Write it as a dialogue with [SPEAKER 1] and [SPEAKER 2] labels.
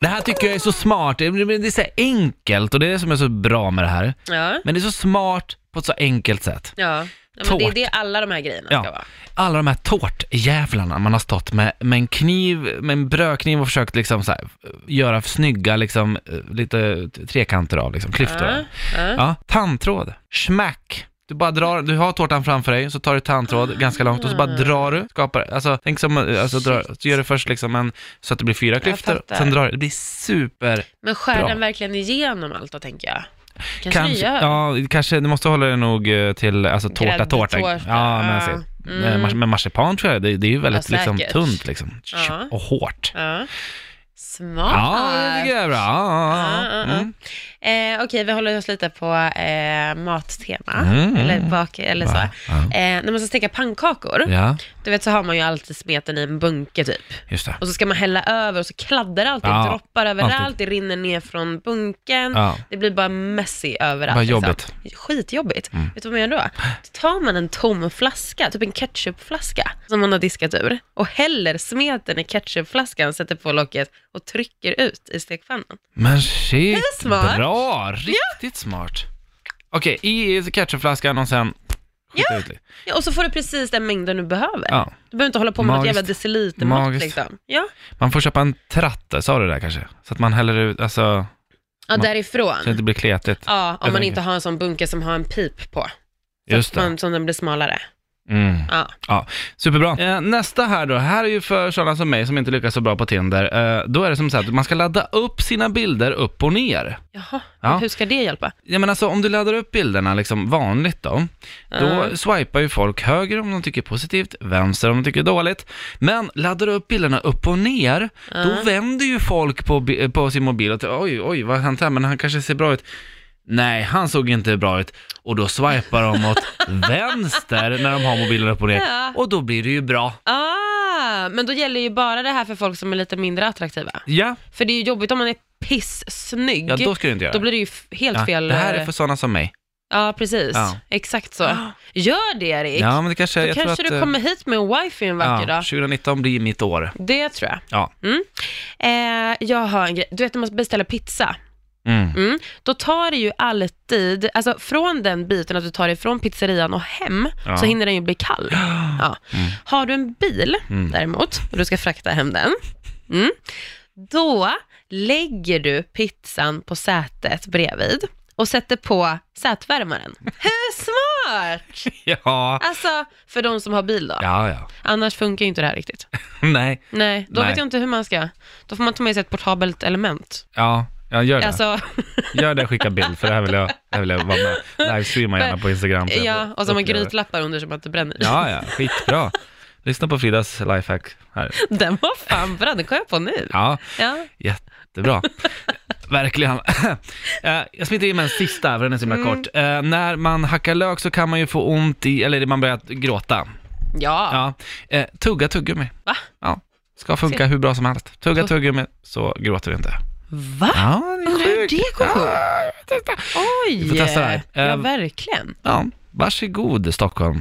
[SPEAKER 1] Det här tycker jag är så smart. Det det är så här enkelt och det är det som är så bra med det här.
[SPEAKER 2] Ja.
[SPEAKER 1] Men det är så smart på ett så enkelt sätt.
[SPEAKER 2] ja. ja men det är
[SPEAKER 1] Tårt.
[SPEAKER 2] det alla de här grejerna ska
[SPEAKER 1] Ja,
[SPEAKER 2] vara.
[SPEAKER 1] alla de här tårtjävlarna man har stått med, med en kniv, med en brödkniv och försökt liksom så här, eh, göra snygga liksom, eh, lite trekanter av, liksom, klyftor.
[SPEAKER 2] Ja,
[SPEAKER 1] av.
[SPEAKER 2] ja.
[SPEAKER 1] Ja, tandtråd. Smack. Du bara drar, du har tårtan framför dig, så tar du tandtråd ganska långt och så bara drar du, skapar, alltså tänk som, eh, alltså drar, så gör du först liksom en, så att det blir fyra klyftor,
[SPEAKER 2] fattar.
[SPEAKER 1] sen drar du, det blir super,
[SPEAKER 2] Men skär
[SPEAKER 1] Bra.
[SPEAKER 2] den verkligen igenom allt då, tänker jag? Kanske, den
[SPEAKER 1] kanske,
[SPEAKER 2] gör.
[SPEAKER 1] ja, kanske, du måste hålla dig nog eh, till, alltså tårta, tårta.
[SPEAKER 2] Gräddtårta,
[SPEAKER 1] Ja, men
[SPEAKER 2] ja.
[SPEAKER 1] se.
[SPEAKER 2] Mm.
[SPEAKER 1] Eh, mars- Men marsipan tror jag, det, det är ju väldigt
[SPEAKER 2] Ja,
[SPEAKER 1] liksom,
[SPEAKER 2] säkert.
[SPEAKER 1] tunt liksom.
[SPEAKER 2] Ja.
[SPEAKER 1] och hårt.
[SPEAKER 2] Ja. Smart.
[SPEAKER 1] Ja, det tycker jag är bra. Ja, ja,
[SPEAKER 2] Ja,
[SPEAKER 1] ja.
[SPEAKER 2] ja, ja.
[SPEAKER 1] Mm.
[SPEAKER 2] Eh, Okej, vi håller oss lite på eh, mattema,
[SPEAKER 1] Mm.
[SPEAKER 2] eller bak, eller så.
[SPEAKER 1] Ja, ja.
[SPEAKER 2] Eh, när man ska steka pannkakor,
[SPEAKER 1] Ja,
[SPEAKER 2] du vet så har man ju alltid smeten i en bunke typ.
[SPEAKER 1] just det.
[SPEAKER 2] Och så ska man hälla över och så kladdar allt,
[SPEAKER 1] Ja,
[SPEAKER 2] det droppar överallt,
[SPEAKER 1] alltid.
[SPEAKER 2] det rinner ner från bunken.
[SPEAKER 1] Ja.
[SPEAKER 2] Det blir bara messy överallt.
[SPEAKER 1] Bara
[SPEAKER 2] liksom.
[SPEAKER 1] jobbigt. Mm.
[SPEAKER 2] Skitjobbigt. Vet du vad man gör då? Då tar man en tom flaska, typ en ketchupflaska, som man har diskat ur och häller smeten i ketchupflaskan, sätter på locket och trycker ut i stekpannan.
[SPEAKER 1] Men shit,
[SPEAKER 2] är smart.
[SPEAKER 1] bra, riktigt smart. Okej, i ketchupflaskan och sen skjuta ut lite.
[SPEAKER 2] Ja, och så får du precis den mängden du behöver.
[SPEAKER 1] Ja.
[SPEAKER 2] Du behöver inte hålla på med något
[SPEAKER 1] Magiskt.
[SPEAKER 2] jävla decilitermått
[SPEAKER 1] Magiskt.
[SPEAKER 2] liksom. Ja.
[SPEAKER 1] Man får köpa en tratte, sa du det där kanske? Så att man häller ut, alltså,
[SPEAKER 2] ja,
[SPEAKER 1] Ma-
[SPEAKER 2] därifrån.
[SPEAKER 1] så att det inte blir kletigt.
[SPEAKER 2] Ja, om
[SPEAKER 1] Jag
[SPEAKER 2] man
[SPEAKER 1] tänker.
[SPEAKER 2] inte har en sån bunke som har en pip på. Så
[SPEAKER 1] Just
[SPEAKER 2] att
[SPEAKER 1] det.
[SPEAKER 2] man, som den blir smalare.
[SPEAKER 1] Mm.
[SPEAKER 2] Ja.
[SPEAKER 1] Ja, superbra. Eh, nästa här då, här är ju för sådana som mig som inte lyckas så bra på Tinder. Eh, då är det som så här att man ska ladda upp sina bilder upp och ner.
[SPEAKER 2] Jaha,
[SPEAKER 1] Ja.
[SPEAKER 2] hur ska det hjälpa?
[SPEAKER 1] Jag menar så om du laddar upp bilderna liksom vanligt då,
[SPEAKER 2] Ja.
[SPEAKER 1] då swipar ju folk höger om de tycker positivt, vänster om de tycker dåligt. Men laddar du upp bilderna upp och ner, då vänder ju folk på, bi- på sin mobil och tänker oj, oj, vad har hänt här, men han kanske ser bra ut. Nej, han såg inte bra ut. Och då swipar de åt vänster när de har mobilen upp och ner.
[SPEAKER 2] Ja.
[SPEAKER 1] Och då blir det ju bra.
[SPEAKER 2] Ah, men då gäller ju bara det här för folk som är lite mindre attraktiva.
[SPEAKER 1] Ja,
[SPEAKER 2] För det är ju jobbigt om man är pissnygg.
[SPEAKER 1] ja då ska du inte göra
[SPEAKER 2] Då blir det ju f- helt
[SPEAKER 1] ja,
[SPEAKER 2] fel. eh,
[SPEAKER 1] Det här är för sådana som mig.
[SPEAKER 2] Ja, precis.
[SPEAKER 1] Ja.
[SPEAKER 2] Exakt så. Gör det Erik.
[SPEAKER 1] Ja, men det kanske,
[SPEAKER 2] Då
[SPEAKER 1] jag
[SPEAKER 2] kanske
[SPEAKER 1] tror att,
[SPEAKER 2] du
[SPEAKER 1] eh,
[SPEAKER 2] kommer hit med en wifi en vacker
[SPEAKER 1] ja,
[SPEAKER 2] dag.
[SPEAKER 1] 2019 blir mitt år.
[SPEAKER 2] Det tror jag.
[SPEAKER 1] Ja.
[SPEAKER 2] Mm. Eh, jag har en grej. Du vet när man beställer pizza,
[SPEAKER 1] Mm.
[SPEAKER 2] mm. då tar det ju alltid, alltså från den biten att du tar det från pizzerian och hem,
[SPEAKER 1] Ja. Mm.
[SPEAKER 2] så hinner den ju bli kall. Ja. Har du en bil däremot, och du ska frakta hem den, mm, då lägger du pizzan på sätet bredvid och sätter på sätvärmaren. Hur smart!
[SPEAKER 1] Ja.
[SPEAKER 2] Alltså, för de som har bil då.
[SPEAKER 1] Ja, ja.
[SPEAKER 2] Annars funkar ju inte det här riktigt.
[SPEAKER 1] Nej.
[SPEAKER 2] Nej, då
[SPEAKER 1] Nej.
[SPEAKER 2] vet jag inte hur man ska. Då får man ta med sig ett portabelt element.
[SPEAKER 1] Ja, ja gör det.
[SPEAKER 2] Alltså,
[SPEAKER 1] Gör det, skicka bild, för det här vill jag, det här vill jag vara med. Livestreama gärna på Instagram. så jag
[SPEAKER 2] ja, och så har man
[SPEAKER 1] upplever det.
[SPEAKER 2] grytlappar under så man inte bränner i.
[SPEAKER 1] Ja, ja, skitbra. Lyssna på Fridas lifehack här.
[SPEAKER 2] Den var fan bra, den kom jag på nu.
[SPEAKER 1] Ja,
[SPEAKER 2] Ja.
[SPEAKER 1] jättebra. Verkligen. Eh, jag smiter in med en sista, för den är så himla
[SPEAKER 2] Mm.
[SPEAKER 1] kort. Eh, när man hackar lök så kan man ju få ont i, eller man börjar gråta.
[SPEAKER 2] Ja.
[SPEAKER 1] Ja, eh, tugga tuggummi.
[SPEAKER 2] Va?
[SPEAKER 1] Ja, ska funka hur bra som helst. Tugga tuggummi så gråter du inte.
[SPEAKER 2] Va?
[SPEAKER 1] Ja, det
[SPEAKER 2] Undrar hur
[SPEAKER 1] sjukt.
[SPEAKER 2] det går ihop?
[SPEAKER 1] Ja, jag vet inte.
[SPEAKER 2] Oj!
[SPEAKER 1] Vi får testa det här.
[SPEAKER 2] Ja,
[SPEAKER 1] Ehm.
[SPEAKER 2] verkligen.
[SPEAKER 1] Ja, varsågod Stockholm.